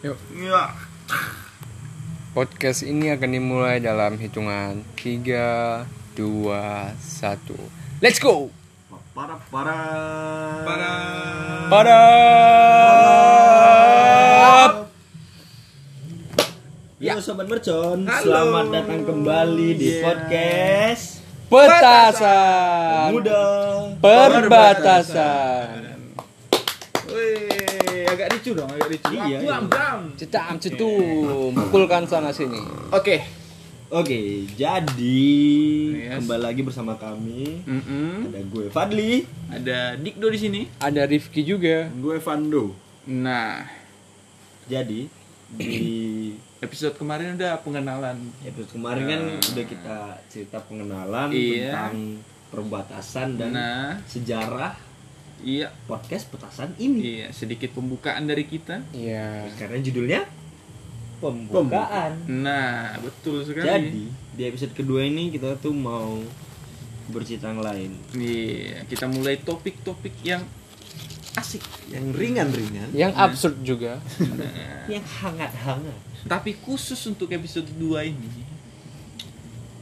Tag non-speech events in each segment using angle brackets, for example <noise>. Yuk. Ya. Podcast ini akan dimulai dalam hitungan 3, 2, 1 Let's go! Para para Para. Padap Yo sobat mercon, Ya. Halo. Iya. selamat datang kembali di Yeah. podcast Petasan Muda. Perbatasan Wih, Eh, agak ricu dong, agak ricu. Iya, iya. Bam, bam. Cetam cetum Pukulkan sana sini Oke. Oke, jadi Yes. kembali lagi bersama kami. Mm-mm. Ada gue Fadli. Ada Dikdo di sini. Ada Rifki juga Gue Fando. Nah, Jadi <clears throat> di episode kemarin udah pengenalan. episode kemarin kan udah kita cerita pengenalan Nah. Iya. tentang perbatasan dan Nah. sejarah Iya, podcast petasan ini. iya, sedikit pembukaan dari kita. Iya Karena judulnya pembukaan. Nah, betul sekali. Jadi di episode kedua ini kita tuh mau bercerita yang lain Iya, kita mulai topik-topik yang asik, yang ringan-ringan, Yang absurd juga Nah. yang hangat-hangat. tapi khusus untuk episode 2 ini,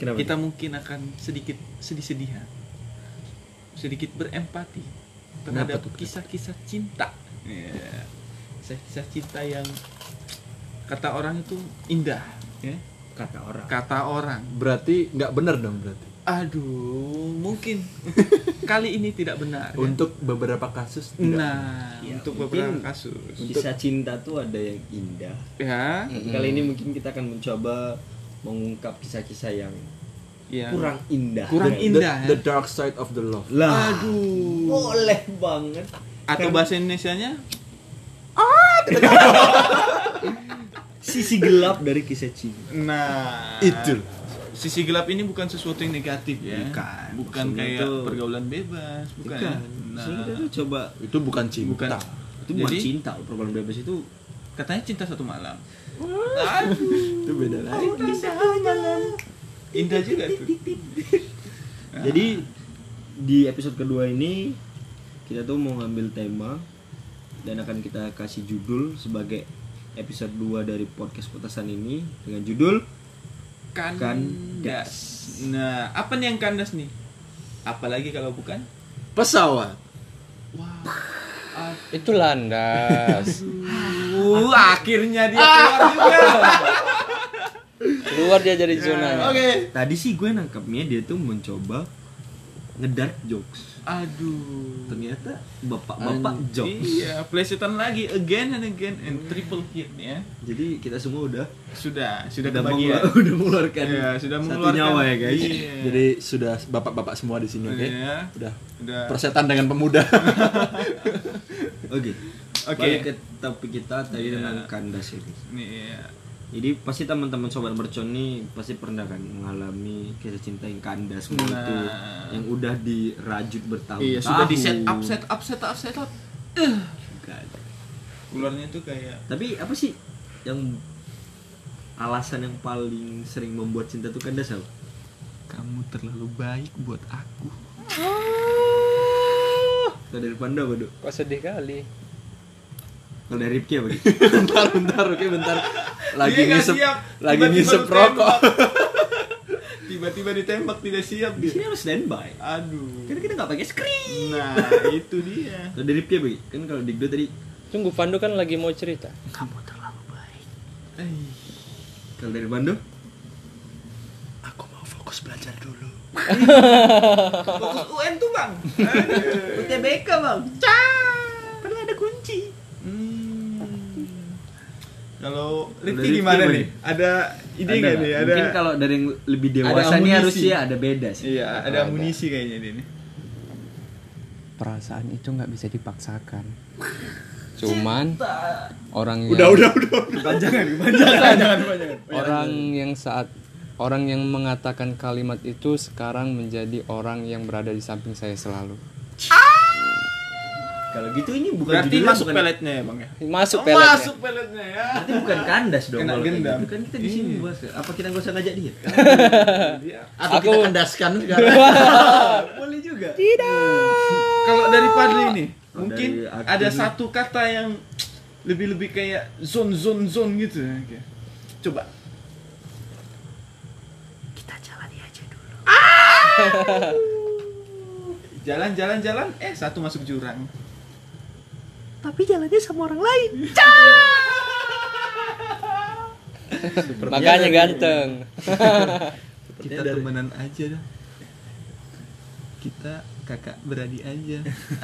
Kenapa? kita mungkin akan sedikit sedih-sedihan. Sedikit berempati Kenapa terhadap tuh? kisah-kisah cinta. Iya. Kisah-kisah cinta yang kata orang itu indah, ya. kata orang. Kata orang. Berarti nggak benar dong berarti. Aduh, <laughs> mungkin kali ini tidak benar. ya. Untuk beberapa kasus tidak. Nah, Ya, untuk mungkin- beberapa kasus. Kisah cinta tuh ada yang indah. Ya, Tapi Kali ini mungkin kita akan mencoba mengungkap kisah-kisah yang ya. kurang indah. Kurang Dan- The- indah, ya. The, dark side of the love. Lah, Aduh. boleh banget. Atau bahasa Indonesianya? Sisi gelap dari kisah cinta. Nah, Itu. Sisi gelap ini bukan sesuatu yang negatif ya. Bukan. Bukan Maksudnya kayak tuh- pergaulan bebas, bukan. ya? Bukan. Nah, Maksudnya kita tuh coba Itu bukan cinta. bukan. itu bukan Jadi- cinta, loh, pergaulan bebas itu Katanya cinta satu malam. Ah, Aduh, Itu beda lagi. Oh, indah juga tuh. Jadi di episode kedua ini kita tuh mau ngambil tema dan akan kita kasih judul sebagai episode 2 dari podcast petasan ini dengan judul Kandas. Kandas. Nah, apa nih yang kandas nih? Apalagi kalau bukan? Pesawat. Wah. Itu landas Uh, akhirnya dia keluar juga. Keluar dia dari Iya. zona Tadi sih gue nangkapnya dia tuh mencoba ngedark jokes. Aduh. Ternyata bapak-bapak jokes. Iya, plesetan lagi again and again and triple hit ya. Jadi kita semua udah Sudah, sudah udah, kebagian. mengelu- <laughs> udah mengeluarkan Iya, sudah satu mengeluarkan. nyawa ya guys. Iya. Jadi sudah bapak-bapak semua di sini, oke? Iya. Udah Udah. persetan dengan <laughs> pemuda. Oke. Oke. Iya. Balik ke topik kita tadi tentang kandas ini. Nih, ya. Jadi pasti teman-teman sobat mercon nih pasti pernah kan mengalami kisah cinta yang kandas Nah. itu yang udah dirajut Iya, bertahun-tahun. sudah di set up, set up, set up, set up. Bukan. Ularnya tuh kayak Tapi apa sih yang alasan yang paling sering membuat cinta tuh kandas apa? kamu terlalu baik buat aku. Kalau dari Panda apa, Dok? Kok sedih kali Kalau dari Ripki apa? Dok? bentar, bentar, oke, bentar. Lagi Dia Iya, nggak ngisep, siap. lagi Tiba-tiba ngisep ditembak. rokok. <laughs> Tiba-tiba ditembak tidak siap di dia. sini harus standby. Aduh. Karena kita nggak pakai screen. Nah, itu dia. Kalau dari Ripki apa? Dok? Kan kalau Digdo tadi Tunggu Fando kan lagi mau cerita Eh, kalau dari Pando Aku mau fokus belajar dulu. Fokus UN tuh, Bang. UTBK, Bang. Perlu ada kunci. Hmm. Kalau Rifki Rifki gimana gimana nih? nih? Ada ide Ada nggak nggak? nih? Ada Mungkin kalau dari yang lebih dewasa Ada ini amunisi. harusnya ada beda sih. Iya, ada ada. amunisi kayaknya dia nih. Perasaan itu nggak bisa dipaksakan <laughs> Cuman Orang yang Udah, udah, udah. Kepanjangan, kepanjangan. Orang yang saat Orang yang mengatakan kalimat itu Sekarang menjadi orang yang berada di samping saya selalu Kalau gitu ini bukan Berarti judulnya, masuk bukan, peletnya ya, Bang ya? Masuk Oh, peletnya Masuk peletnya ya. Berarti bukan kandas dong Kena kalau kayak gendam. Iya. gitu. Kan kita di sini bahas. Apa kita nggak usah ngajak dia? Dia- Atau Aku- kita kandaskan sekarang. Boleh juga. <laughs> Kalau dari Padli nih, Kalau mungkin dari aku ada nih. satu kata yang lebih lebih kayak zone zone zone gitu Oke. coba Kita jalani aja dulu. Ah! <laughs> jalan jalan jalan eh satu masuk jurang Tapi jalannya sama orang lain. <laughs> Makanya ganteng. kita dari- temenan aja dah kita kakak beradik aja <laughs>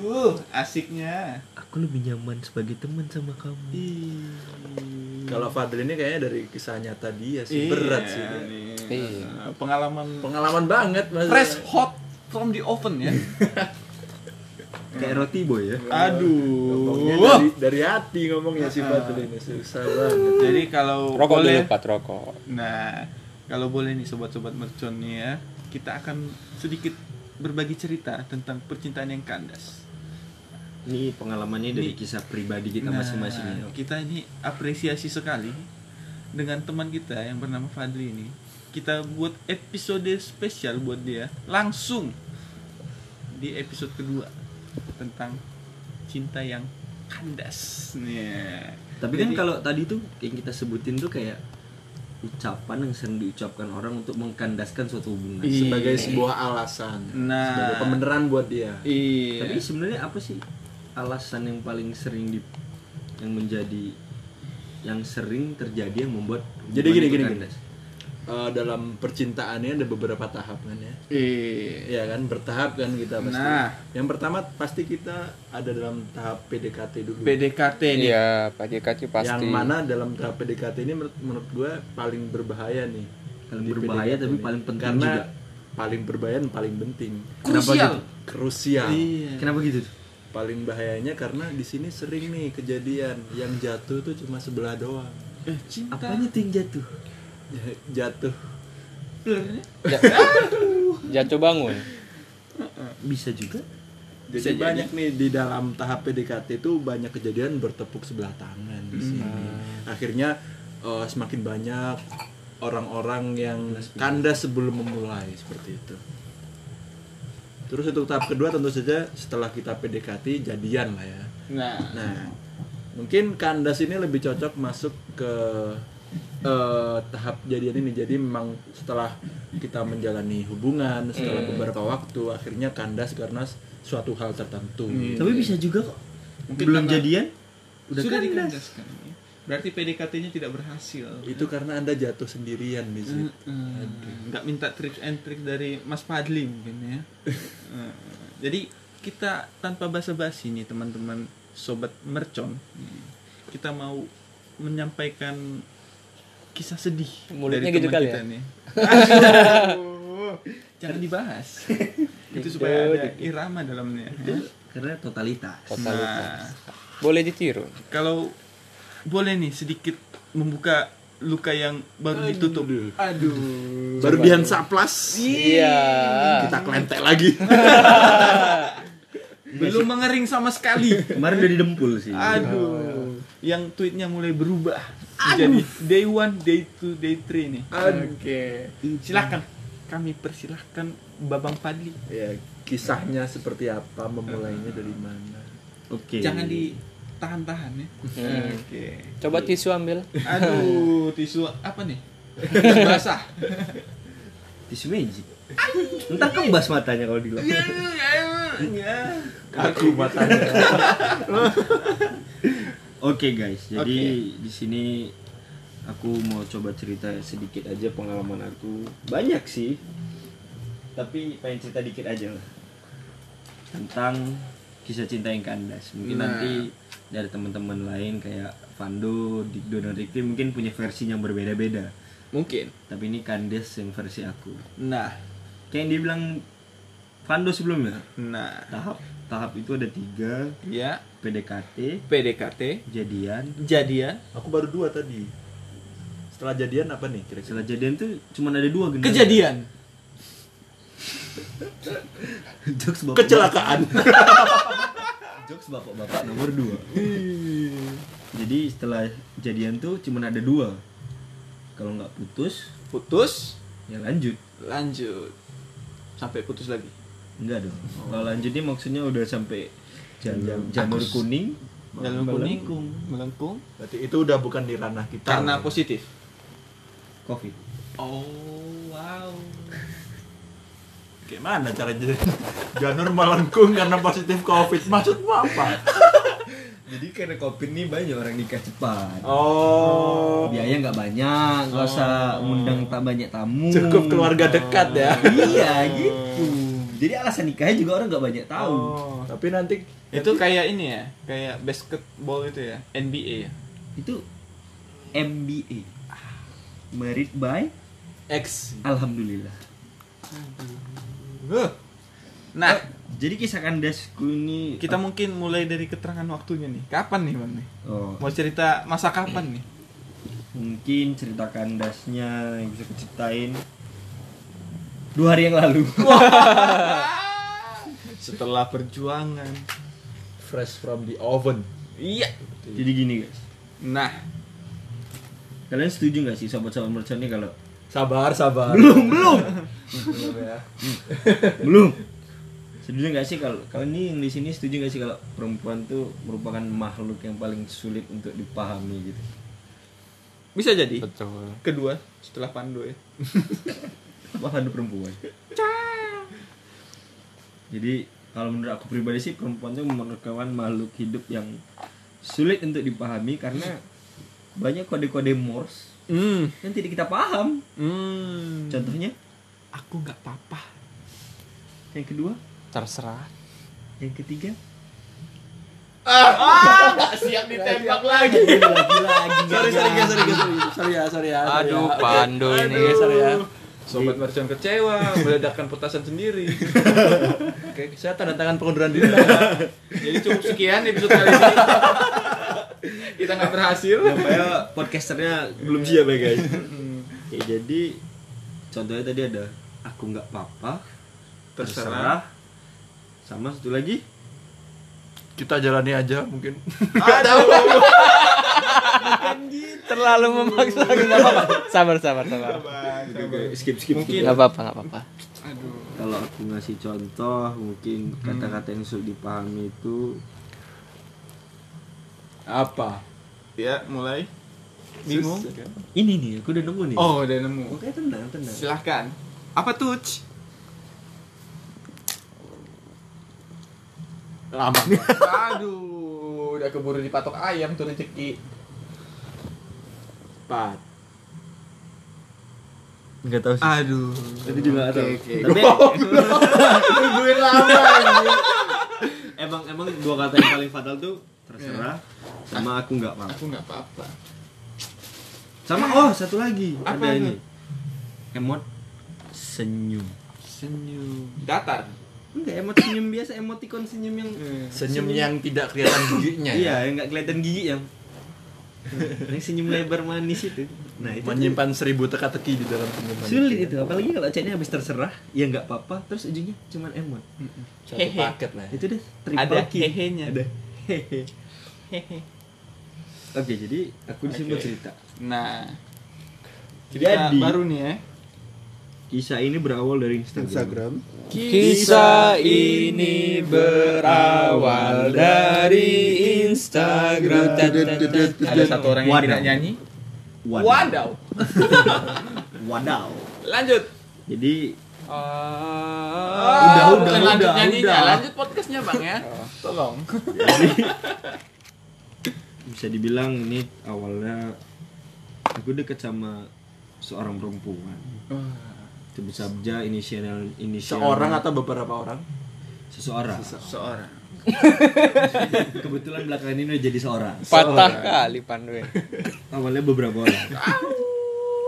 aduh asiknya Aku lebih nyaman sebagai teman sama kamu. Ih. Kalau Fadli ini kayaknya dari kisah nyata dia sih Iya berat sih. dia. nih. Iya. pengalaman Pengalaman Iya. banget mas. fresh hot from the oven ya Kayak roti boy ya. Ngomongnya aduh dari, dari hati ngomongnya Ah. si Fadli ini susah banget. jadi kalau Rokok dulu boleh Pat rokok. nah kalau boleh nih sobat-sobat mercon nih ya kita akan sedikit berbagi cerita tentang percintaan yang kandas Ini pengalamannya dari kisah pribadi kita Nah, masing-masing. ya. Kita ini apresiasi sekali dengan teman kita yang bernama Fadli ini. Kita buat episode spesial buat dia langsung di episode kedua tentang cinta yang kandas. Nih. Tapi kan Jadi- kalau tadi tuh yang kita sebutin tuh kayak ucapan yang sering diucapkan orang untuk mengkandaskan suatu hubungan. Iya. Sebagai sebuah alasan, Nah. sebagai pembeneran buat dia. Iya. Tapi sebenarnya apa sih alasan yang paling sering di yang menjadi yang sering terjadi yang membuat hubungan Jadi gini, itu gini, kandas? Eh, dalam percintaannya ada beberapa tahapan ya. Iya. Iya kan bertahap kan kita pasti. Nah. Yang pertama pasti kita ada dalam tahap PDKT dulu. PDKT nih. Iya, Pak JKT pasti. Yang mana dalam tahap PDKT ini menurut, menurut gue paling berbahaya nih. Paling Di berbahaya PDKT tapi ini. paling penting Karena juga. paling berbahaya dan paling penting. Krusial. Krusial. Iya. gitu? Kenapa gitu? tuh? Paling bahayanya karena di sini sering nih kejadian yang jatuh tuh cuma sebelah doang. <laughs> Eh, cinta. Apanya tuh yang jatuh? jatuh. Blurnya. Ja- jatuh bangun. Bisa juga. Jadi banyak nih di dalam tahap PDKT itu banyak kejadian bertepuk sebelah tangan di sini. Akhirnya eh, semakin banyak orang-orang yang kandas sebelum memulai seperti itu. Terus untuk tahap kedua tentu saja setelah kita PDKT jadian lah ya. Nah, Nah, mungkin kandas ini lebih cocok masuk ke eh, tahap jadian ini. Jadi memang setelah kita menjalani hubungan setelah beberapa waktu, akhirnya kandas karena s- suatu hal tertentu. Tapi bisa juga kok. Mungkin Belum karena- jadian udah sudah kandas. dikandaskan. Berarti PDKT-nya tidak berhasil. Itu karena anda jatuh sendirian di situ. Hmm. Mm-mm. nggak minta tips and trick dari Mas Padli mungkin <laughs> ya. Mm. Jadi kita tanpa basa-basi nih teman-teman sobat mercon, Mm. kita mau menyampaikan kisah sedih Mulutnya dari gitu teman kali kita ya? <laughs> nih. Aduh, jangan <laughs> dibahas. Gitu, Itu supaya ada irama dalamnya. ya. Iya. Karena totalitas. Nah, Totalitas. Boleh ditiru. kalau boleh nih sedikit membuka luka yang baru ditutup. Aduh. Baru Barbian saplas, Iya. kita kelentek lagi. <laughs> Belum mengering sama sekali. Kemarin udah didempul sih. Aduh. Iya. Yang tweetnya mulai berubah menjadi day one, day two, day three nih. Oke. Silahkan. Kami persilahkan Babang Padli. ya, kisahnya seperti apa, memulainya dari mana? Oke. Jangan ditahan-tahan ya. Oke. Coba tisu ambil. Aduh, tisu apa <laughs> nih? Tisu basah. tisu magic. Ntar kembas matanya kalau di Ya. Aku matanya. Oke guys, jadi di sini aku mau coba cerita sedikit aja pengalaman aku. Banyak sih, tapi pengen cerita dikit aja lah tentang kisah cinta yang kandas. Mungkin Nah. nanti dari teman-teman lain kayak Vando, Dik dan Rikti mungkin punya versi yang berbeda-beda. Mungkin. Tapi ini kandas yang versi aku. Nah, Kayak yang dibilang Vando sebelumnya, nah, tahap tahap itu ada tiga ya PDKT, PDKT jadian, jadian <laughs> Aku baru dua tadi. Setelah jadian apa nih kira-kira? setelah jadian tuh cuman ada dua generasi. kejadian <laughs> Jokes bapak Kecelakaan. <laughs> Jokes bapak-bapak nomor dua Jadi setelah jadian tuh cuman ada dua Kalau nggak putus putus ya lanjut lanjut sampai putus lagi Enggak dong Kalau lanjut ini maksudnya udah sampai jam- jamur kuning dalam melengkung melengkung Berarti itu udah bukan di ranah kita. karena positif Covid. oh wow Gimana <laughs> caranya? Janur melengkung karena positif covid. Maksudmu apa? Jadi karena Covid nih banyak orang nikah cepat. Oh. Oh. Biaya nggak banyak, nggak usah ngundang tak banyak tamu. Cukup keluarga dekat ya. <laughs> Iya gitu. Jadi alasan nikahnya juga orang nggak banyak tahu. Oh, <laughs> Tapi nanti itu kayak ini ya kayak basketball itu ya NBA ya Itu MBA. Married by X. Alhamdulillah. Huh. nah Eh, Jadi kisah kandasku ini kita mungkin mulai dari keterangan waktunya nih kapan nih bang nih oh, mau cerita masa kapan nih mungkin cerita kandasnya yang bisa kuceritain dua hari yang lalu. setelah perjuangan Fresh from the oven. iya <laughs> Jadi gini guys. nah Kalian setuju nggak sih sahabat-sahabat merchant ini kalau Sabar, sabar. belum belum Belum ya. belum setuju nggak sih kalau kalau ini yang di sini setuju nggak sih kalau perempuan tuh merupakan makhluk yang paling sulit untuk dipahami gitu bisa jadi betul kedua setelah Pando ya bahkan perempuan jadi kalau menurut aku pribadi sih perempuan tuh merupakan makhluk hidup yang sulit untuk dipahami karena banyak kode-kode Morse hmm yang tidak kita paham hmm contohnya aku nggak apa-apa yang kedua terserah yang ketiga siap ditembak lagi lagi-lagi Sorry, sorry, guys, sorry, guys, sorry, sorry ya, sorry ya. sorry aduh ya. pandu Oke, ini sorry ya. Sobat merchant kecewa, meledakkan petasan sendiri. Oke, saya tanda tangan pengunduran diri. jadi cukup sekian episode kali ini kita nggak berhasil Nampaknya podcasternya belum siap ya guys. ya jadi contohnya tadi ada aku nggak apa-apa terserah. sama satu lagi Kita jalani aja mungkin. terlalu memaksa nggak apa-apa sabar sabar sabar skip skip Mungkin. nggak apa-apa nggak apa-apa aduh kalau aku ngasih contoh mungkin kata-kata yang sulit dipahami itu Apa? ya mulai bingung ini nih aku udah nemu nih oh udah nemu oke tenang tenang silahkan apa tuh Ci? Lama. aduh udah keburu dipatok ayam tuh rezeki Empat. nggak tahu Ah, sih aduh tadi juga nggak tahu oke. <laughs> tapi nungguin lama emang emang dua kata yang paling fatal tuh terserah sama aku nggak apa-apa aku nggak apa-apa sama oh satu lagi Apa ada itu? ini emot senyum senyum datar Enggak, emot senyum biasa, emoticon senyum yang Senyum yang tidak kelihatan giginya. ya? Iya, yang enggak kelihatan gigi yang yang senyum lebar manis itu. Nah, itu tuh Menyimpan seribu teka-teki di dalam senyuman. ya. sulit itu, apalagi kalau chatnya habis terserah, ya enggak apa-apa, terus ujungnya cuman emot. Satu paket lah. ya. Itu deh triple ada kill. hehenya Nah. Ada hehe. <laughs> Oke, jadi aku di sini mau Oke. cerita. nah Jadi, kita baru nih ya kisah ini berawal dari Instagram. Kisah ini berawal dari Instagram. ada satu orang yang Wadaw. tidak nyanyi Wadaw. <laughs> wadaw Wadaw. lanjut Jadi udah udah, lanjut udah, nyanyinya udah. lanjut podcastnya bang ya tolong bisa dibilang ini awalnya aku deket sama seorang perempuan sebut saja inisial inisial Seorang atau beberapa orang? seseorang seorang <laughs> kebetulan belakangan ini udah jadi seorang patah kali pandu ya. awalnya beberapa orang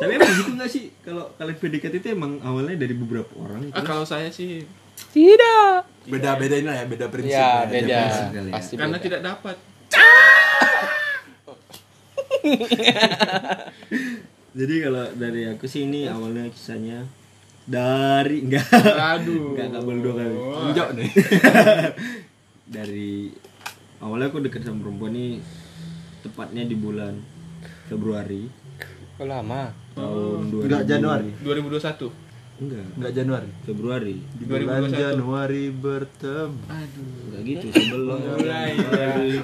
tapi emang gitu nggak sih kalau kalian PDKT itu emang awalnya dari beberapa orang gitu. Ah, kalau saya sih Tidak. Beda-beda ini lah ya, beda prinsip. Ya ya. beda. prinsip kali ya. Pasti karena beda. tidak dapat jadi kalau dari aku sih ini awalnya kisahnya dari <laughs> enggak aduh enggak enggak boleh dua kali Enjok nih. <laughs> dari awalnya aku deket sama perempuan ini tepatnya di bulan Februari Kok lama? tahun 2000 Enggak, Januari. 2021 enggak Enggak Januari. Februari Di bulan 2021. Januari bertemu. Aduh. enggak gitu sebelum Mulai.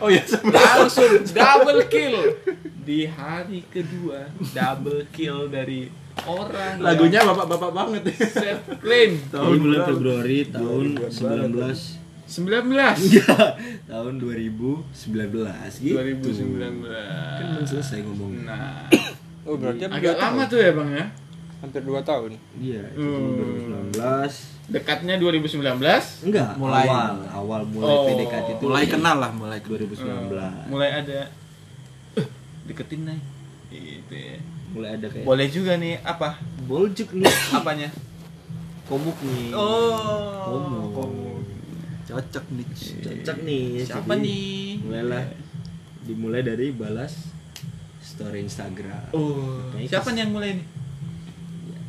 Oh ya, Langsung double kill di hari kedua double kill dari orang lagunya bapak-bapak banget. set clean Ini bulan berapa? Februari tahun bulan 19 Iya. 19 tahun 2019 gitu 2019 kan belum selesai ngomong nah Oh berarti agak lama tuh ya bang ya hampir 2 tahun. iya itu Hmm. 2019 dekatnya 2019 enggak Mulai. awal awal mulai Oh. PDKT itu Mulai kenal lah, mulai kenal. 2019 Hmm, mulai ada "Eh, deketin nih gitu ya mulai ada kayak boleh juga nih apa boljuk nih apanya komuk nih Oh, Komo. Cocok nih. cocok nih siapa Iya, Jadi, nih mulailah dimulai dari balas story Instagram oh Makanya siapa kes- nih yang mulai nih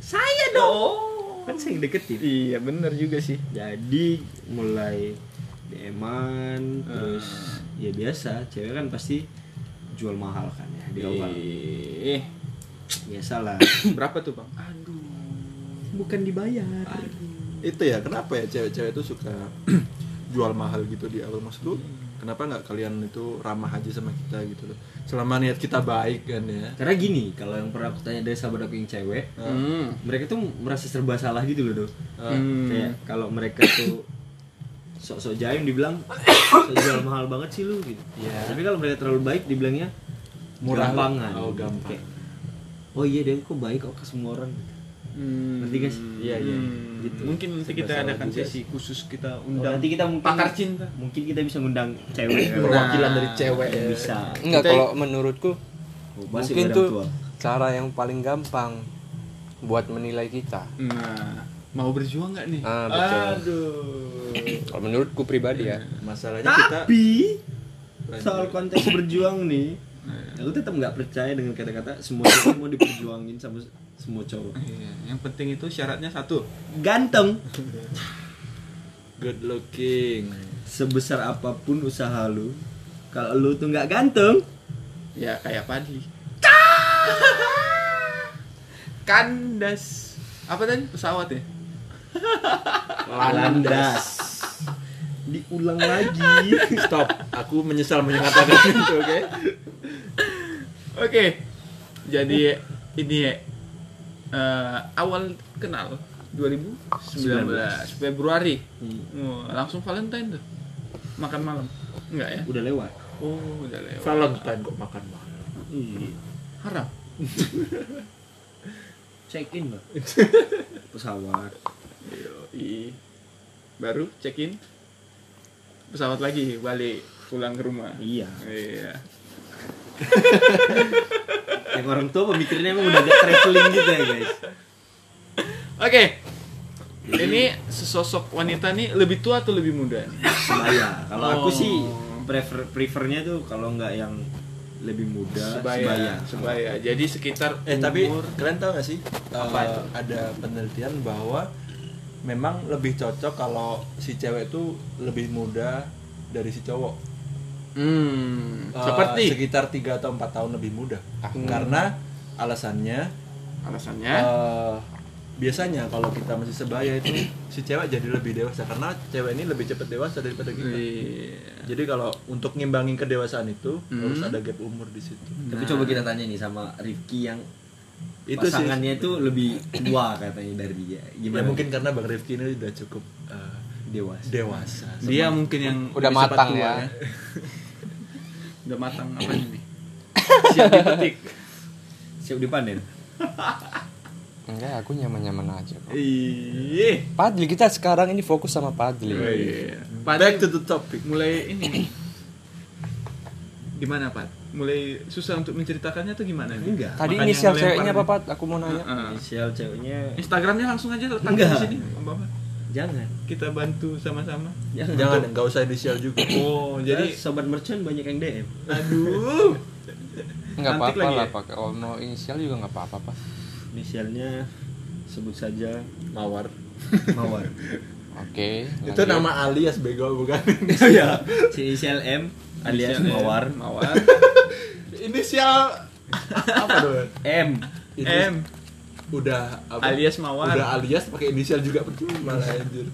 saya dong kan saya yang deketin iya bener juga sih jadi mulai DM-an terus ya biasa cewek kan pasti jual mahal kan ya di awal Iya. eh biasalah berapa tuh bang aduh bukan dibayar Itu ya, kenapa ya cewek-cewek itu suka <clears throat> jual mahal gitu di awal maksud lu? Kenapa nggak kalian itu ramah aja sama kita gitu loh? Selama niat kita baik kan ya. karena gini kalau yang pernah aku tanya dari sahabat aku yang cewek Ah. hmm. mereka tuh merasa serba salah gitu loh Dok. Hmm. kayak kalau mereka tuh sok-sok jaim dibilang "Sok jual mahal banget sih lu gitu Iya. tapi kalau mereka terlalu baik dibilangnya Murah. gampangan Oh, gampang. Kayak, oh iya dia kok baik kok ke semua orang Hmm. Ngerti, guys? Iya, iya. Hmm. Gitu. Mungkin nanti kita Serba salah adakan juga sesi khusus kita Oh, undang nanti kita mungkin pakar cinta. mungkin kita bisa ngundang cewek Perwakilan dari cewek yang ya. bisa Enggak Kita- kalau menurutku Oh, pasti mungkin orang tuh tua. cara yang paling gampang buat menilai kita. Nah, mau berjuang nggak nih? Ah, betul. Aduh. Kalau menurutku pribadi ya. Masalahnya kita tapi soal konteks berjuang nih aku tetap nggak percaya dengan kata-kata semua cewek mau diperjuangin sama s- semua cowok Iya, yang penting itu syaratnya satu. ganteng good looking. sebesar apapun usaha lu kalau lu tuh nggak ganteng Ya kayak padi. Kandas. Apa tadi? Pesawat ya? landas diulang lagi Stop. Aku menyesal menyatakan itu, oke? Oke. Jadi ini ya eh, awal kenal 2019 Februari. Oh, langsung Valentine tuh. Makan malam. Enggak ya? udah lewat Oh, udah lewat. Valentine kok makan mahal. Haram. check in lah pesawat Yoi. Baru check in. Pesawat lagi balik pulang ke rumah. iya Iya. yang orang tua pemikirannya emang udah agak traveling gitu ya guys Oke. Ini sesosok wanita nih lebih tua atau lebih muda? sebaya kalau aku Oh. sih prefer prefernya tuh kalau nggak yang lebih muda sebaya, Sebaya. Sebaya. Jadi sekitar Eh tapi umur- kalian tahu gak sih eh, ada penelitian bahwa memang lebih cocok kalau si cewek itu lebih muda dari si cowok. Hmm, Eh, seperti sekitar 3 atau 4 tahun lebih muda. Karena alasannya alasannya eh, biasanya kalau kita masih sebaya itu <coughs> si cewek jadi lebih dewasa karena cewek ini lebih cepat dewasa Eh, daripada kita. Iya. Jadi kalau untuk ngimbangin kedewasaan itu harus ada gap umur di situ. tapi coba kita tanya nih sama Rifki yang Itu sih. pasangannya tuh lebih tua katanya dari dia Ya gimana mungkin karena Bang Rifki ini udah cukup eh, dewasa dewasa. dia mungkin yang Udah Lebih cepat matang tua, ya. <laughs> udah matang apa ini? Siap dipetik. siap dipanen Enggak, aku nyaman-nyaman aja kok. Iya. Padli kita sekarang ini fokus Oh, sama Padli. Back Padahal to the topic. mulai ini <coughs> gimana Pat? Mulai susah untuk menceritakannya tuh gimana nih? enggak Tadi Makanya inisial ngelempar ceweknya apa, nih. Pat? Aku mau nanya. Heeh. inisial ceweknya Iya. Instagramnya langsung aja letak di Enggak. sini, Om Bapak. jangan Kita bantu sama-sama. jangan, Jangan, nggak usah inisial juga. Oh, jadi jadi sobat merchant banyak yang DM aduh. Enggak Cantik apa-apa lagi lah, ya? pakai oh, mau inisial juga enggak apa-apa, Pak. inisialnya sebut saja Mawar. mawar Oke. <coughs> Itu lanjut. nama alias bego <laughs> bukan? Iya. ya si inisial M alias Inisialnya mawar Mawar. <laughs> inisial apa dong? M M. udah apa? Alias Mawar. Udah alias pakai inisial juga percuma lah anjir.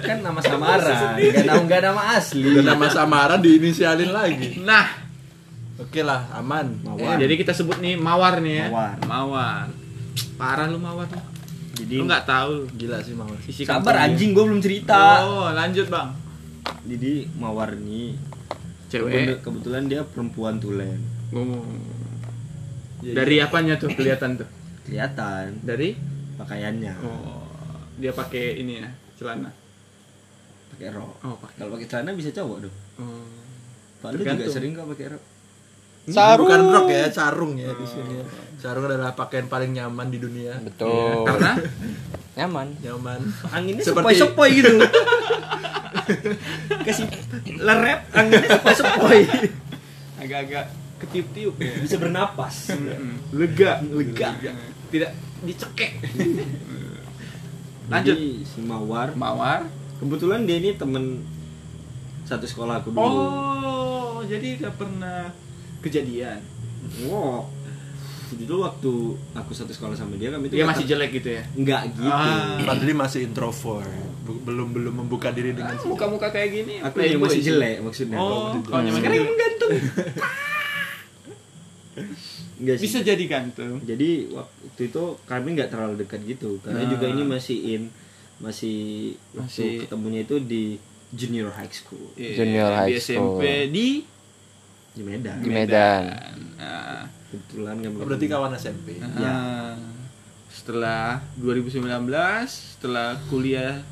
kan nama samaran nggak nama nggak nama asli Udah nama samaran diinisialin lagi. Nah, Oke lah, aman. eh, Mawar. jadi kita sebut nih Mawar nih ya. Mawar. Mawar. Parah lu Mawar. lu. Jadi Lu nggak tahu lu. gila sih Iya, Mawar. Sisi sabar kampungnya. anjing gue belum cerita Oh, lanjut, Bang. jadi Mawar ini Cewek. kebetulan dia perempuan tulen. Ngomong. iya. Dari apanya tuh kelihatan tuh? Kelihatan Dari pakaiannya Oh, dia pakai ini ya, celana. pakai rok. Oh, pakai. Kalau pakai celana bisa cowok dong. Oh. Pak lu juga Tergantung. sering nggak pakai rok? Sarung. Bukan rok ya, sarung ya di sini. Sarung adalah pakaian paling nyaman di dunia. Betul. Karena Nyaman. Nyaman. anginnya sepoi Seperti- sepoi <laughs> gitu kasih lerep anginnya sepoi sepoi agak-agak ketiup-tiup ya. bisa bernapas Lega, lega tidak dicekek. Lanjut. Lanjut. Jadi si Mawar Mawar. kebetulan dia ini temen satu sekolah aku dulu. Oh, jadi udah pernah kejadian. Wow. Jadi dulu waktu aku satu sekolah sama dia kami itu Dia masih jelek gitu ya. nggak gitu. Ah. Padli masih introvert. Bu- belum belum membuka diri dengan Ah, Muka-muka kayak gini. Aku playboy yang masih sih. jelek Iya, maksudnya. Oh, gitu. Kalau kalau masih nyaman jelek. kan gantung. Nggak sih. <laughs> Bisa jadi gantung. Jadi waktu itu kami nggak terlalu dekat gitu Nah. karena juga ini masih in masih Masih- waktu ketemunya itu di junior high school Iya, Junior high di SMP school. di di Medan. Di Medan. Nah, Kebetulan kami Oh, berarti ketemu. kawan SMP. Iya. Ya. ah, setelah 2019, setelah kuliah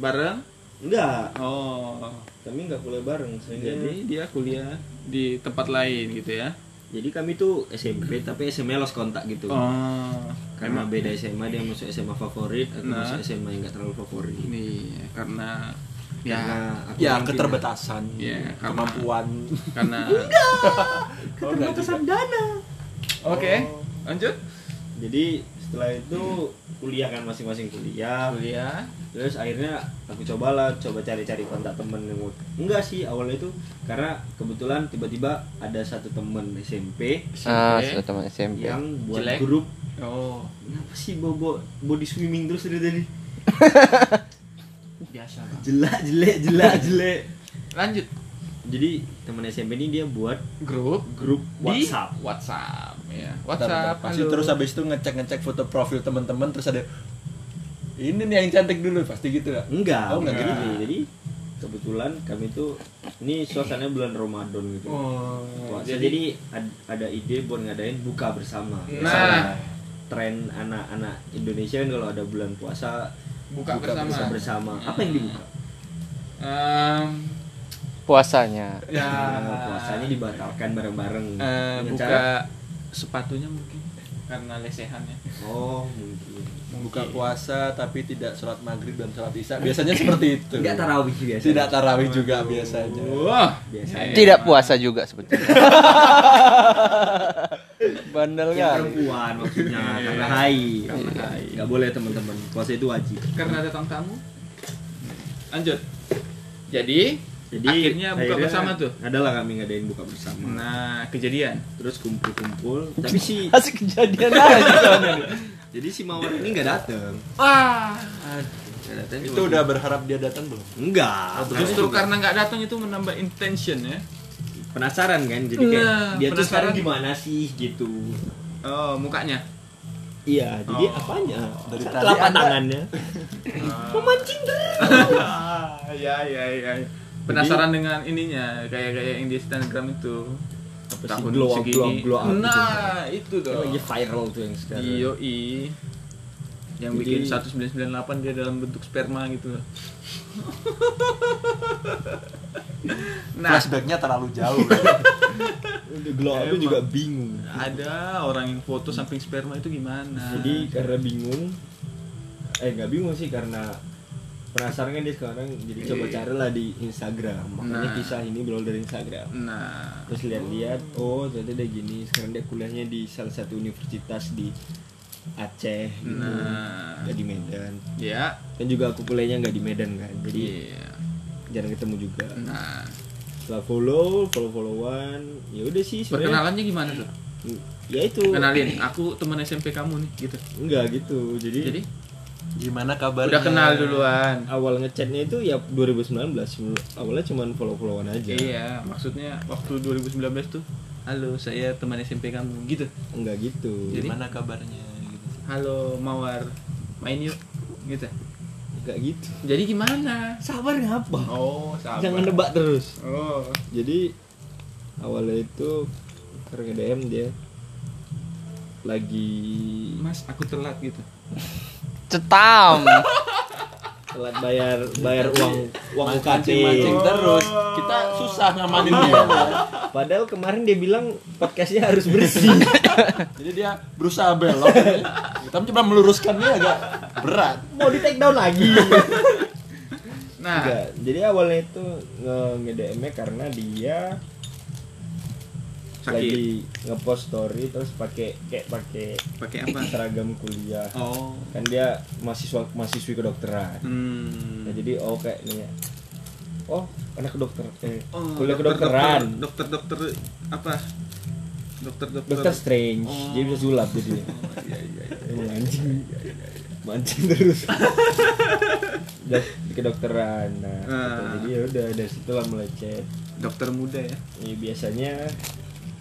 bareng. Nggak, Oh, iya. kami nggak kuliah bareng sehingga jadi jadi dia kuliah di tempat lain gitu ya. jadi kami tuh SMP tapi SMA lost kontak gitu. Oh, Karena beda SMA dia masuk SMA favorit, aku Nah. masuk SMA yang nggak terlalu favorit. ini karena ya Karena aku Oh, Ya, orang keterbatasan. Iya, karena- kemampuan. <laughs> karena Keterbatasan. oke lanjut jadi setelah itu kuliah kan masing-masing kuliah kuliah terus akhirnya aku cobalah coba cari-cari kontak temen yang mau- enggak sih awalnya itu karena kebetulan tiba-tiba ada satu temen SMP Ah, SMP. sudah teman SMP. yang buat Jelek. grup oh kenapa sih bobo body swimming terus dari <laughs> tadi biasa Bang. jelek jelek <laughs> jelek jelek lanjut jadi temen SMP ini dia buat grup grup di WhatsApp WhatsApp ya Bentar, bentar. WhatsApp pasti halo. terus habis itu ngecek-ngecek foto profil teman-teman terus ada ini nih yang cantik dulu pasti gitu ya. enggak Oh, enggak enggak gitu. gitu. jadi kebetulan kami tuh ini suasananya bulan Ramadan gitu Wah, Oh, jadi, jadi ad- ada ide buat ngadain buka bersama. Nah. tren anak-anak Indonesia kan kalau ada bulan puasa buka, bersama, Hmm. puasa bersama. Apa yang dibuka? Em, Puasanya. ya Nah, <laughs> puasanya dibatalkan bareng-bareng. eh, Dengan buka cara- sepatunya mungkin karena ya. lesehannya Oh, mungkin. Buka puasa tapi tidak sholat maghrib dan sholat isya biasanya seperti itu. Enggak tarawih biasa. Tidak tarawih juga biasanya. wah Biasanya. Tidak puasa juga sebetulnya. Bandel Yang kan. perempuan Iya, maksudnya karena haid. Enggak boleh teman-teman. Puasa itu wajib. karena datang tamu lanjut jadi, Jadi akhirnya buka akhirnya bersama tuh Adalah kami ngadain buka bersama. nah kejadian Terus kumpul-kumpul. Tapi si Asik kejadian aja. jadi si Mawar ini enggak datang. wah Nggak datang, Itu cuma- udah berharap dia datang belum? Enggak. justru karena nggak datang itu menambah intention ya penasaran kan jadi kayak Nah, dia tuh penasaran. sekarang gimana sih gitu. oh mukanya Iya, jadi Oh. apanya? Dari Dari tadi telapak ada- tangannya. memancing <laughs> ya ya ya penasaran dengan ininya kayak kayak yang di Instagram itu Apa sih, glow up, glow up, glow up gitu. nah Iya. itu Kan dong lagi viral tuh yang sekarang. Yoi yang bikin Jadi- 1998 dia dalam bentuk sperma <laughs> gitu loh. nah Flashbacknya terlalu jauh. Udah glow up tuh Emang. juga bingung. ada orang yang foto samping sperma itu gimana Jadi karena bingung eh nggak bingung sih karena penasaran kan dia sekarang jadi coba Iya. carilah di Instagram. Makanya Nah. kisah ini berawal dari Instagram. nah Terus lihat-lihat, oh ternyata dia gini. Sekarang dia kuliahnya di salah satu universitas di Aceh gitu. nah Nggak di Medan. ya kan juga aku kuliahnya nggak di Medan kan jadi iya. jarang ketemu juga nah setelah follow follow followan ya udah sih sebenarnya perkenalannya gimana tuh ya itu kenalin aku teman SMP kamu nih gitu enggak gitu jadi, jadi Gimana kabarnya? udah kenal duluan awal ngechatnya itu ya 2019 awalnya cuman follow followan aja iya maksudnya waktu 2019 tuh halo saya teman SMP kamu gitu enggak gitu Jadi- Gimana kabarnya? Gitu. halo mawar main yuk gitu enggak gitu jadi gimana sabar ngapa oh sabar jangan nebak terus oh jadi awalnya itu karena DM dia lagi mas aku telat gitu cetam telat bayar bayar uang uang UKT Mancing-mancing terus. Oh. Kita susah ngamaninnya. padahal kemarin dia bilang podcastnya harus bersih Jadi dia berusaha belok. Tapi coba meluruskannya agak berat. <laughs> mau di take down lagi <laughs> nah Enggak, jadi awalnya itu nge DM nya karena dia Sakit. lagi ngepost story terus pakai kayak pakai pakai apa seragam kuliah oh kan dia mahasiswa mahasiswi kedokteran Nah, hmm. jadi oh kayak ini ya. Oh, anak dokter. Eh, Oh, kuliah dokter- kedokteran. dokter dokter apa dokter dokter Dokter Strange. Oh. Dia bisa sulap jadinya. iya iya iya. Emang anjing. Mancing <laughs> terus. Dok- di kedokteran. Nah, gitu. Ah. jadi ya udah dari situ lah mulai chat. dokter muda ya Ya, biasanya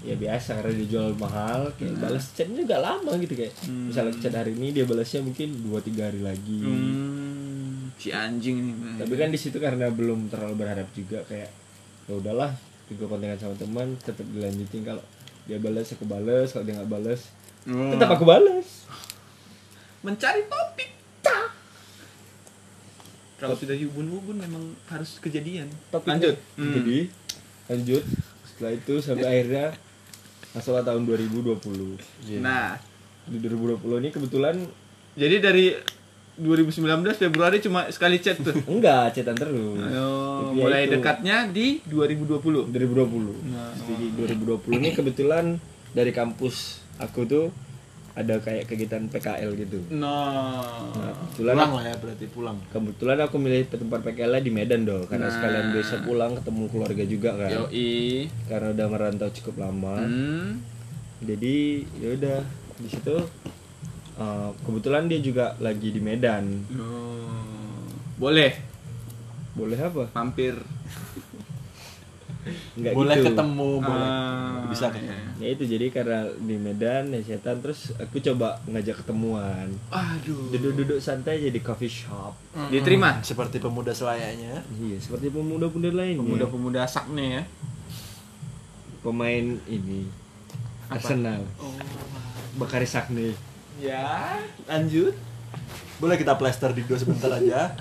ya biasa karena dijual mahal kayak balas chatnya juga lama gitu kayak Hmm. misalnya chat hari ini dia balasnya mungkin 2-3 hari lagi hmm. si anjing nih tapi kan di situ karena belum terlalu berharap juga kayak ya udahlah juga kontengan sama teman tetap dilanjutin kalau dia balas aku balas kalau dia nggak balas Oh. tetap aku balas mencari topik Ta. kalau sudah hubun-hubun memang harus kejadian Tapi- lanjut Hmm. jadi lanjut setelah itu sampai akhirnya masalah tahun 2020 nah di 2020 ini kebetulan jadi dari 2019 Februari cuma sekali chat <laughs> tuh enggak cetan Ayo, terus Tapi ya Oh, mulai itu, dekatnya di 2020 2020 Nah. jadi 2020 ini kebetulan dari kampus aku tuh ada kayak kegiatan PKL gitu nah nah, kebetulan Pulang lah ya berarti pulang. Kebetulan aku milih tempat PKL di Medan dong, karena Nah. sekalian besok pulang ketemu keluarga juga kan. yoi Karena udah merantau cukup lama. hmm. Jadi ya udah di situ eh, kebetulan dia juga lagi di Medan. Oh. boleh Boleh apa? mampir Enggak boleh gitu. ketemu, Oh, boleh. Ah, Bisa kan? ketemu. iya. Ya itu jadi karena di Medan ya setan terus aku coba ngajak ketemuan. aduh Duduk-duduk santai aja di coffee shop. diterima Hmm. Seperti pemuda selayaknya. Iya, seperti pemuda-pemuda lainnya. pemuda-pemuda sak nih ya Pemain ini Apa? Arsenal. Bakari Oh, Sakne. ya lanjut Boleh kita plaster di dua sebentar <laughs> aja.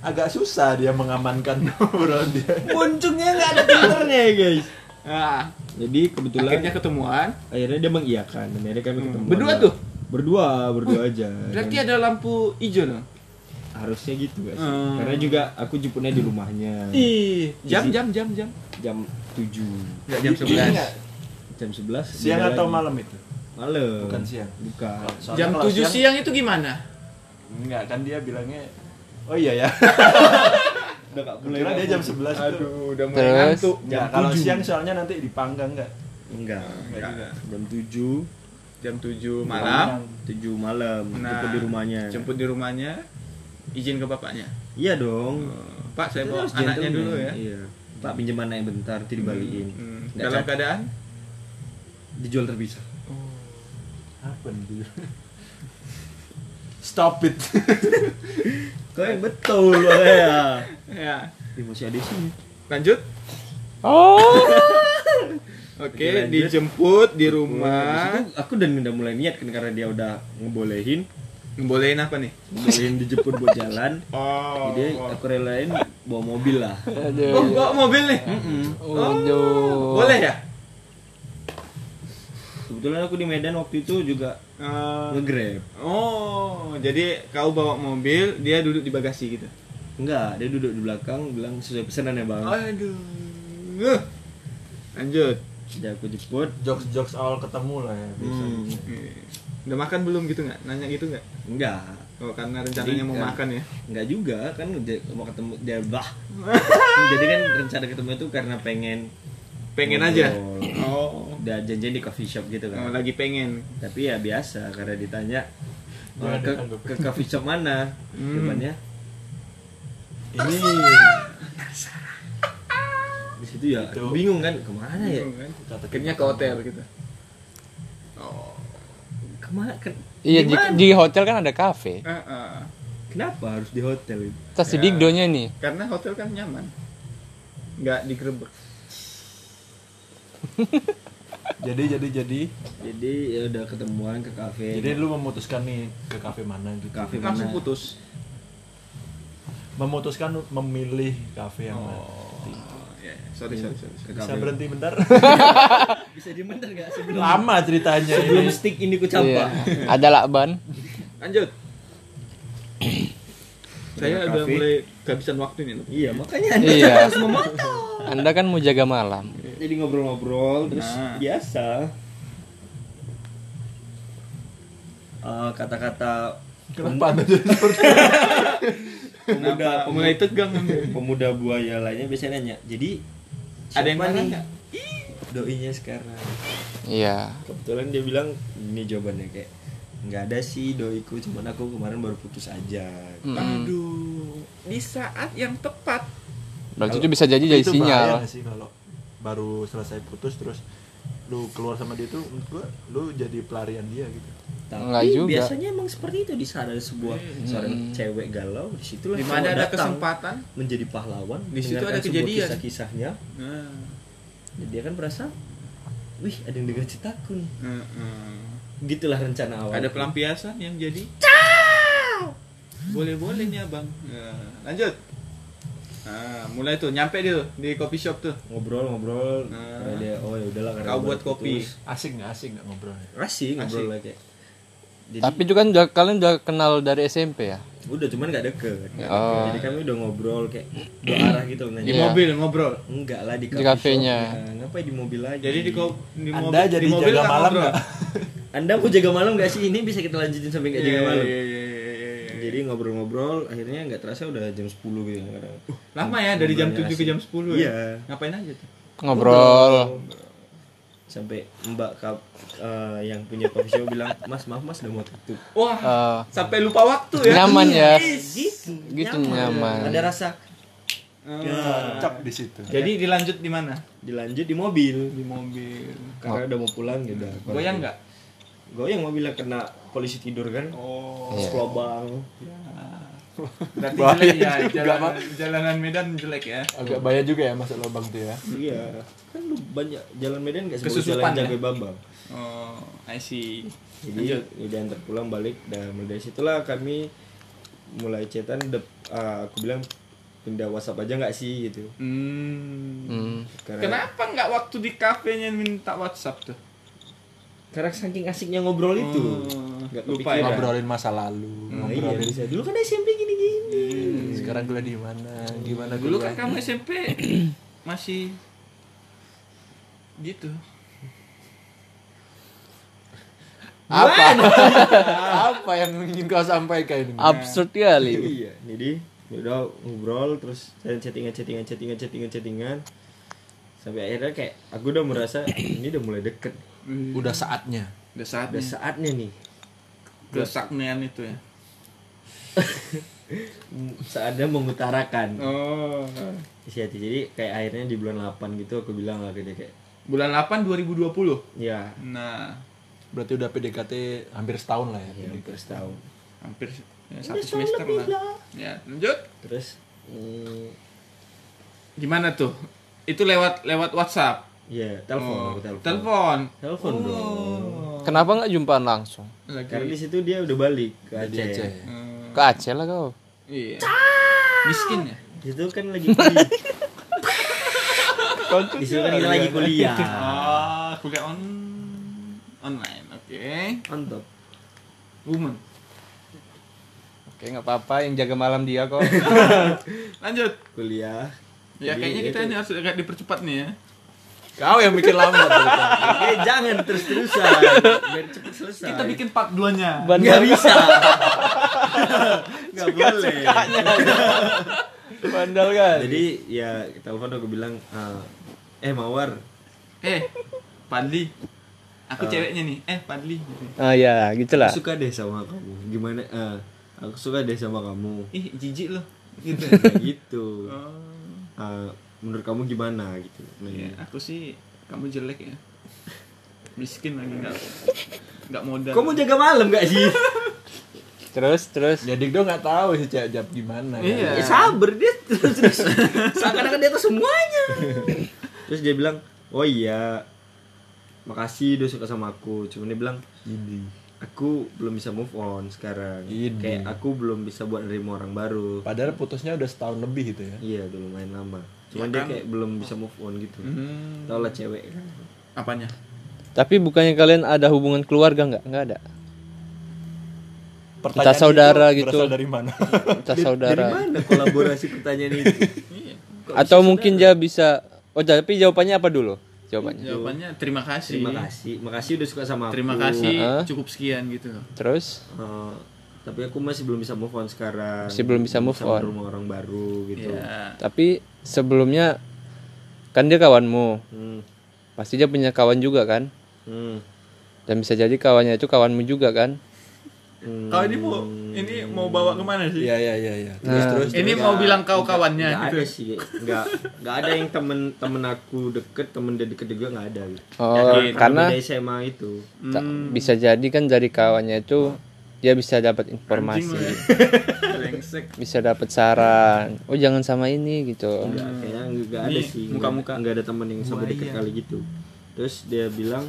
agak susah dia mengamankan <laughs> obrolan dia. Puncungnya nggak ada filternya ya guys. ah Jadi kebetulan akhirnya ketemuan akhirnya dia mengiyakan dan akhirnya kami ketemu Berdua tuh? berdua berdua aja berarti Dan ada lampu hijau dong harusnya gitu guys Hmm. karena juga aku jemputnya di rumahnya ih jam Jadi- jam jam jam jam 7 nggak jam Gini sebelas nggak? jam 11 Siang beda atau lagi. malam itu? malam Bukan siang. bukan Soalnya jam kalau tujuh siang itu gimana Enggak, kan dia bilangnya Oh iya ya. <laughs> udah gak boleh Kira dia jam 11 itu. udah terus Enggak, Jam kalau tujuh. siang soalnya nanti dipanggang enggak? enggak Enggak juga. jam 7 jam tujuh malam 7 malam Nah, jemput di rumahnya jemput di rumahnya izin ke bapaknya Oh, iya dong pak saya Itu bawa harus anaknya gentleman. dulu ya iya Pak pinjam anaknya bentar, nanti dibalikin. Hmm, Nggak dalam cak- keadaan dijual terpisah. Apa nih? Stop <laughs> it. Kau yang betul, <laughs> ya. ya Ih, masih ada isinya. lanjut oh <laughs> Oke, Lanjut. dijemput di Nah, rumah. disitu aku dan udah mulai niat kan karena dia udah ngebolehin, Ngebolehin apa nih? ngebolehin dijemput buat <laughs> jalan. Oh. Jadi aku relain bawa mobil lah. aduh Oh, bawa mobil nih. Oh. Aduh. Boleh ya? Kebetulan aku di Medan waktu itu juga Eh, ngegrab. oh, jadi kau bawa mobil, dia duduk di bagasi gitu. Enggak, dia duduk di belakang bilang sesuai pesanan ya bang. Aduh. Eh, Lanjut. Jadi aku jemput. Jokes-jokes awal ketemu lah ya biasanya. Hmm, Eh, Udah makan belum gitu nggak? Nanya gitu nggak? enggak, Oh, karena rencananya mau Jadi, eh, makan ya. enggak juga kan dia- mau ketemu dia <laughs> bah. Jadi kan rencana ketemu itu karena pengen Pengen aja. ngobrol. Oh. udah janjian di coffee shop gitu Yang kan lagi pengen tapi ya biasa karena ditanya "Oh, ke, ke coffee shop mana depannya ini di situ ya bingung kan kemana ya akhirnya ke hotel gitu Oh. kemana ke- Iya di, gimana? di hotel kan ada kafe. Ah, ah. kenapa harus di hotel itu Tas Ya. di digdonya nih. karena hotel kan nyaman nggak digerebek jadi jadi jadi jadi ya udah ketemuan ke kafe jadi lu memutuskan nih ke kafe mana gitu kafe mana langsung putus memutuskan memilih kafe yang mana oh, ya ya. iya, sorry sorry sorry, ke sorry. bisa kafe berhenti bentar bisa dibentar nggak sebelum <laughs> lama ceritanya sebelum ini stick ini ku campak Iya. Ada lakban. lanjut saya udah Kafe. mulai kehabisan waktu nih Lep. iya makanya anda Iya. harus memantau Anda kan mau jaga malam. jadi ngobrol-ngobrol terus Nah. biasa Eh, kata-kata <laughs> kenapa anda jadi seperti pemuda Kenapa? mulai tegang pemuda buaya lainnya biasanya nanya jadi ada yang siapa mana nih nggak doinya sekarang Iya. kebetulan dia bilang ini jawabannya kayak nggak ada sih doiku cuman aku kemarin baru putus aja Mm-mm. aduh di saat yang tepat Berarti itu bisa jadi jadi itu bahaya sinyal. nggak sih kalau baru selesai putus terus lu keluar sama dia tuh menurut gua lu jadi pelarian dia gitu tapi Nggak juga. Hmm. biasanya emang seperti itu di saat ada sebuah seorang cewek galau disitulah di mana cowok ada datang kesempatan menjadi pahlawan Di situ mendengarkan ada sebuah kejadian. kisah-kisahnya nah, dan dia kan merasa wih ada yang dengar citaku nih eh, eh. gitulah rencana awal ada pelampiasan yang jadi boleh boleh nih abang Nah, lanjut Nah, mulai tuh nyampe dia tuh di coffee shop tuh ngobrol-ngobrol Nah. karena dia oh ya udahlah karena Kau baru buat kopi. putus." asik nggak asik nggak ngobrolnya asik ngobrol Asik. lah kayak jadi Tapi itu kan udah, kalian udah kenal dari SMP ya? udah cuman gak deket Nggak Oh. deket. jadi kami udah ngobrol kayak dua arah gitu di Iya. nanya mobil ngobrol enggak lah di, Di coffee kafenya. shop. Nah, ngapain di mobil aja jadi di, ko- di Anda mobil jadi di mobil jaga nggak malam ngobrol. nggak? anda mau jaga malam gak sih ini bisa kita lanjutin sampai gak Iya, jaga malam iya, iya, iya, iya, iya. jadi ngobrol-ngobrol akhirnya nggak terasa udah jam 10 gitu kan kadang. lama ya dari jam 7 ke Ngobrolnya jam asik. 10 iya ya ngapain aja tuh Ngobrol. sampai mbak kap eh, yang punya coffee shop bilang mas maaf mas udah mau tutup wah Eh, sampai lupa waktu Ah. ya nyaman ya. gitu Gitu nyaman. ada rasa <laughs> Ah. cap di situ jadi dilanjut di mana dilanjut di mobil di mobil karena udah mau pulang ya udah goyang nggak goyang mobilnya kena polisi tidur kan oh terus lobang berarti Bahaya jelek ya juga, jalanan, jalanan Medan jelek ya agak bahaya juga ya masuk lubang tuh ya iya kan lu banyak jalan Medan nggak sebagus Kesusupan jalan ya? Jagoy Bambang oh I see jadi udah antar pulang balik dan mulai dari situlah kami mulai cetan aku bilang pindah WhatsApp aja nggak sih gitu hmm. Hmm. karena Kenapa nggak waktu di kafenya minta WhatsApp tuh? karena saking asiknya ngobrol itu Oh, nggak lupa ya. kepikiran. ngobrolin masa lalu Nah, iya ngobrolin bisa dulu kan SMP gini gini sekarang kuliah di mana gimana Dulu kuliah? kan kamu SMP masih gitu. Apa? apa yang ingin kau sampaikan ini Absurd kali. iya jadi ya udah ngobrol terus saya chattingan chattingan chattingan chattingan chattingan sampai akhirnya kayak aku udah merasa ini udah mulai deket udah saatnya Hmm. Udah saatnya. udah saatnya nih Udah saknean itu ya. Mm, saatnya mengutarakan Oh. isi hati jadi kayak akhirnya di bulan 8 gitu aku bilang akhirnya kayak Bulan 8 2020. ya Nah, berarti udah PDKT hampir setahun lah ya, ya hampir setahun hampir se- ya, satu semester lah. Ya, lanjut. terus mm, Gimana tuh? Itu lewat lewat WhatsApp. ya telepon Oh, aku telepon Telepon. Oh. Telepon dong. Kenapa nggak jumpaan langsung? karena Lagi. di situ dia udah balik ke Aceh. di Aceh Eh, Ke Aceh lah kau. iya. Miskin ya. Di situ kan lagi kuliah. di situ kan kita lagi kuliah. Ah, kuliah on online, oke. Mantap. Woman. Oke nggak apa-apa yang jaga malam dia kok. <laughs> Lanjut. Kuliah. Ya Jadi, kayaknya kita itu- ini harus agak dipercepat nih ya. kau yang bikin lama ternyata. gitu. Eh jangan terus-terusan. Biar cepet selesai. Kita bikin part 2-nya. Nggak bisa. Nggak boleh. Bandel kan. Jadi ya telepon aku bilang "Ah, eh Mawar, eh, Padli aku ceweknya nih eh Padli gitu. Ah ya, gitulah. Aku suka deh sama kamu. Gimana? eh, aku suka deh sama <laughs> kamu. ih jijik loh <laughs> gitu Kayak gitu. oh, Eh, menurut kamu gimana gitu? Nah, ya, aku sih kamu jelek ya miskin lagi nggak nggak modal Kamu jaga malam gak sih? Terus terus Jadi gue Ya, nggak tahu sih Cak Jab gimana. kan. iya Ya, <laughs> sabar dia terus <laughs> terus seakan-akan dia tuh semuanya. terus dia bilang, "Oh iya. Makasih udah suka sama aku." Cuman dia bilang, Jadi. "Aku belum bisa move on sekarang. Iya Ini. Kayak aku belum bisa buat nerima orang baru." Padahal putusnya udah setahun lebih gitu ya. Iya, udah lumayan lama. Cuman Ya dia kan? kayak belum bisa move on gitu. Hmm. Tau lah cewek kan. apanya tapi bukannya kalian ada hubungan keluarga nggak? Nggak ada. Pertanyaan itu saudara gitu. Berasal dari <laughs> mana? Entah saudara. Dari mana kolaborasi pertanyaan <laughs> itu? Iya. Atau mungkin dia bisa Oh, tapi jawabannya apa dulu? Jawabannya. jawabannya terima kasih Terima kasih. Makasih udah suka sama aku. Terima kasih Heeh. cukup sekian gitu loh Terus Eh, tapi aku masih belum bisa move on sekarang. Masih belum bisa move on. Rumah orang baru gitu. ya tapi sebelumnya kan dia kawanmu. Hmm. Pasti dia punya kawan juga kan? Hmm. Dan bisa jadi kawannya itu kawanmu juga kan? hmm. kau ini mau ini mau bawa kemana sih Iya iya iya. iya. Terus Nah. terus. ini mau bilang kau kawannya Nggak gitu ada sih, nggak nggak ada yang temen temen aku deket, temen dia deket juga nggak ada. Gitu. Oh, Yakin. karena Beda SMA itu. ta- bisa jadi kan dari kawannya itu dia bisa dapat informasi, Brengsek. bisa dapat saran. Oh, jangan sama ini gitu. Nggak, kayaknya nggak ada Hmm. Ini sih. muka-muka. iya. Nggak ada temen yang sama Buaya. deket kali gitu. Terus dia bilang,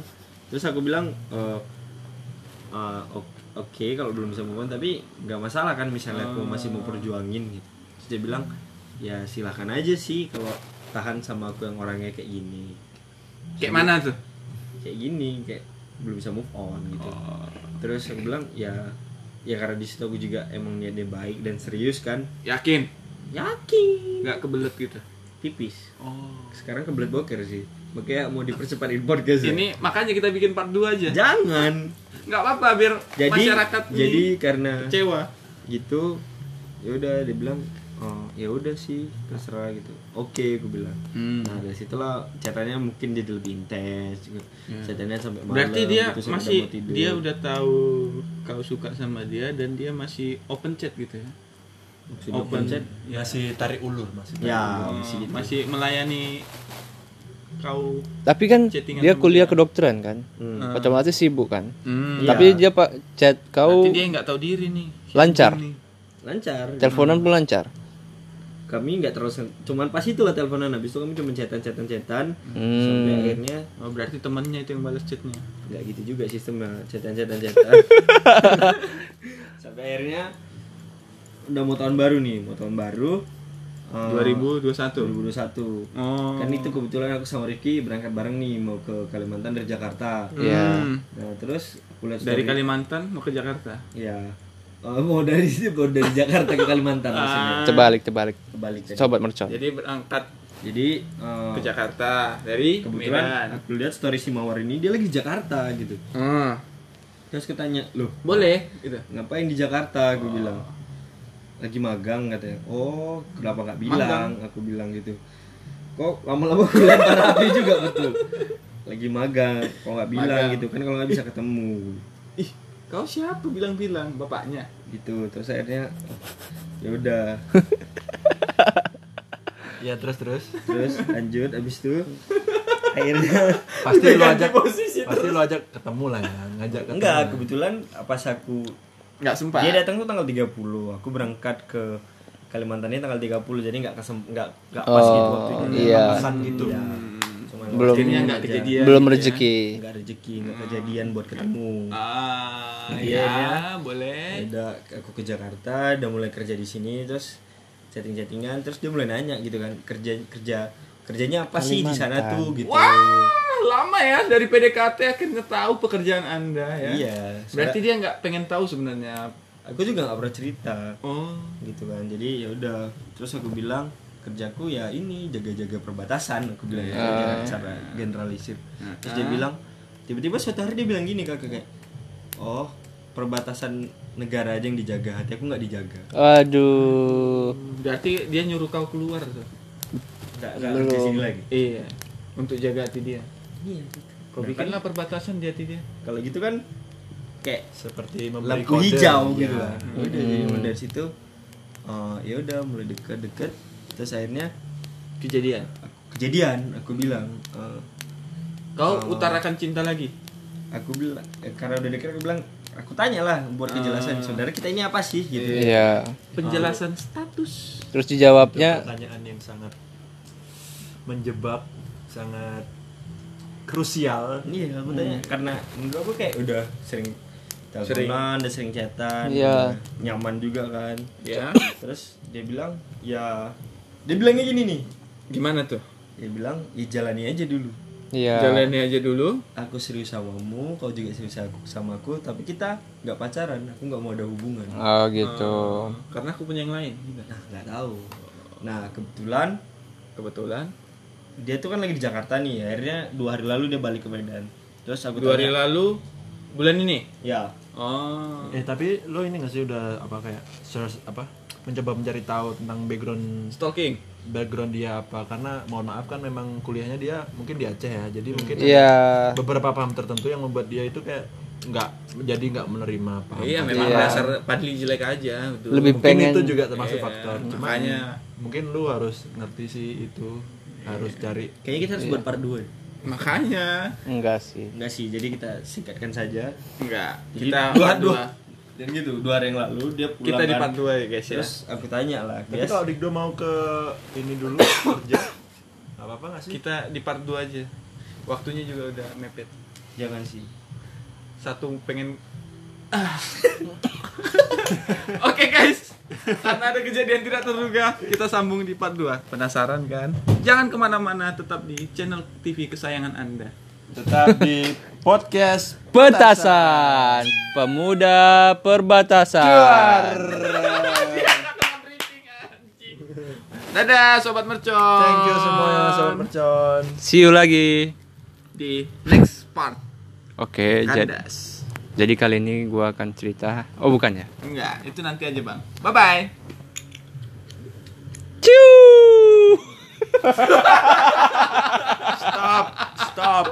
terus aku bilang, eh eh, ok- oke kalau belum bisa move on, tapi nggak masalah kan misalnya aku Ah. masih mau perjuangin gitu. Terus dia bilang, ya silakan aja sih kalau tahan sama aku yang orangnya kayak gini, kayak mana tuh kayak gini, kayak belum bisa move on gitu. Ah. Terus aku bilang, ya ya karena di situ aku juga emang niatnya baik dan serius kan yakin yakin nggak kebelet gitu tipis oh sekarang kebelet boker sih makanya mau dipercepat import guys ya? ini makanya kita bikin part 2 aja jangan nggak apa-apa biar jadi masyarakat ini jadi karena kecewa gitu ya udah dia bilang oh ya udah sih terserah gitu oke aku bilang Hmm. nah dari situlah caranya mungkin jadi lebih intens gitu. Chatnya sampai Ya. malam berarti dia gitu, sampai masih udah mau tidur. dia udah tahu kau suka sama dia dan dia masih open chat gitu ya Sudah open chat Masih Iya tarik ulur masih. ya Oh, masih gitu masih melayani kau Tapi kan Chattingan dia sama kuliah dia. kedokteran kan, Hmm. otomatis sibuk kan. hmm. Iya. Tapi dia pak chat kau berarti dia nggak tahu diri nih Lancar. Ini. lancar teleponan pun lancar. kami nggak terus cuman pas itulah teleponan habis itu kami cuma chatan chatan chatan Hmm. sampai akhirnya oh, berarti temannya itu yang balas chatnya nggak gitu juga sistemnya cetan cetan cetan <laughs> sampai akhirnya udah mau tahun baru nih mau tahun baru eh, 2021 2021 oh kan itu kebetulan aku sama Rifki berangkat bareng nih mau ke Kalimantan dari Jakarta Ya. Hmm. nah terus aku lihat dari story- Kalimantan mau ke Jakarta ya Eh, mau dari <laughs> sini baru dari Jakarta ke Kalimantan maksudnya Ah. Terbalik, terbalik. kebalik tadi. Sobat mercon. Hmm. jadi berangkat jadi eh, ke Jakarta dari kebetulan Medan aku lihat story si Mawar ini dia lagi di Jakarta gitu Ah. Hmm. terus ketanya loh boleh gitu ngapain di Jakarta aku bilang lagi magang katanya oh kenapa nggak bilang aku bilang gitu kok lama-lama aku lempar <laughs> api juga betul lagi magang kok nggak bilang Magang. gitu kan kalau nggak bisa ketemu ih kau siapa bilang-bilang bapaknya gitu terus akhirnya ya udah Ya terus terus. terus lanjut abis itu akhirnya <laughs> Pasti lo ajak. Pasti lo ajak ketemu lah ya. Ngajak ketemu. enggak kebetulan apa aku nggak sempat Dia datang tuh tanggal 30. Aku berangkat ke Kalimantannya tanggal 30 jadi nggak kesem nggak nggak pas gitu waktunya. Oh, iya. Pasan gitu. Ya. Cuman Belum- Hmm. akhirnya waktunya nggak aja. kejadian Belum gitu ya. rezeki. nggak rezeki, nggak kejadian buat ketemu. ah Iya, ya, iya. boleh Udah aku ke Jakarta, udah mulai kerja di sini terus chatting-chattingan terus dia mulai nanya gitu kan kerja kerja kerjanya apa sih di sana Kalimantan. tuh gitu. Wah, lama ya dari PDKT akhirnya tahu pekerjaan Anda ya. Iya. Berarti Soalnya dia nggak pengen tahu sebenarnya. aku juga nggak pernah cerita. Oh, gitu kan jadi ya udah terus aku bilang kerjaku ya ini jaga-jaga perbatasan aku bilang ya Eh. jangan cara generalisir Nah. terus dia bilang tiba-tiba suatu hari dia bilang gini kakak kayak oh perbatasan negara aja yang dijaga hati aku nggak dijaga Aduh. berarti dia nyuruh kau keluar tuh. nggak nggak kerja sini lagi Iya, untuk jaga hati dia. iya gitu. Kau bikin Bikinlah perbatasan di hati dia. kalau gitu kan kayak seperti memberi lampu kode. hijau Iya. Hmm. gitu lah. Udah jadi mulai dari situ eh, ya udah mulai dekat-dekat terus akhirnya Kejadian. kejadian aku bilang eh, Kau Oh. utarakan cinta lagi. aku bilang eh, karena udah dekat aku bilang aku tanyalah buat kejelasan saudara kita ini apa sih Hmm. gitu. Ah. Iya. Penjelasan status. Terus Itu dijawabnya pertanyaan yang sangat menjebak, sangat krusial. Iya, aku tanya Hmm. karena menurut aku kayak udah sering teleponan, udah sering chatan, Iya. udah nyaman juga kan. Ya. Terus dia bilang, ya dia bilangnya gini nih. Gimana tuh? Dia bilang, ya jalani aja dulu. iya. Ya. Jalani aja dulu. Aku serius samamu, kau juga serius aku- sama aku, tapi kita nggak pacaran. Aku nggak mau ada hubungan. Oh gitu. Karena aku punya yang lain. Gitu. Nah, nggak tahu. Nah, kebetulan Kebetulan. dia tuh kan lagi di Jakarta nih. Akhirnya dua hari lalu dia balik ke Medan. Terus aku Dua hari tanya, lalu bulan ini. Ya, Oh. Eh tapi lo ini nggak sih udah apa kayak search apa mencoba mencari tahu tentang background Stalking. background dia apa karena mohon maaf kan memang kuliahnya dia mungkin di Aceh ya jadi mungkin Iya. beberapa paham tertentu yang membuat dia itu kayak nggak jadi nggak menerima paham Iya, memang Iya. dasar Padli jelek aja. betul. Lebih mungkin pengen itu juga termasuk Iya, faktor Cuma makanya. mungkin lu harus ngerti sih itu harus cari kayaknya kita Iya. harus buat part 2. Makanya enggak sih. Enggak sih, jadi kita singkatkan saja. enggak Jadi kita dua, part dua. dua. Dan gitu, dua hari yang lalu dia pulang. Kita di kan. part dua ya guys ya. Terus aku tanya lah, tapi "Guys, kalau Digdo mau ke ini dulu kerja apa apa nggak sih Kita di part 2 aja. Waktunya juga udah mepet. jangan sih. Satu pengen Ah. <laughs> Oke guys, karena ada kejadian tidak terduga, kita sambung di part 2 Penasaran kan? Jangan kemana-mana, tetap di channel TV kesayangan anda tetap di podcast Petasan Pemuda Perbatasan. Dadah Sobat Mercon thank you semuanya sobat mercon See you lagi. Di next part Oke, jadi Kandas jadi kali ini gua akan cerita. Oh, bukan ya. Enggak, itu nanti aja bang Bye-bye Ciu.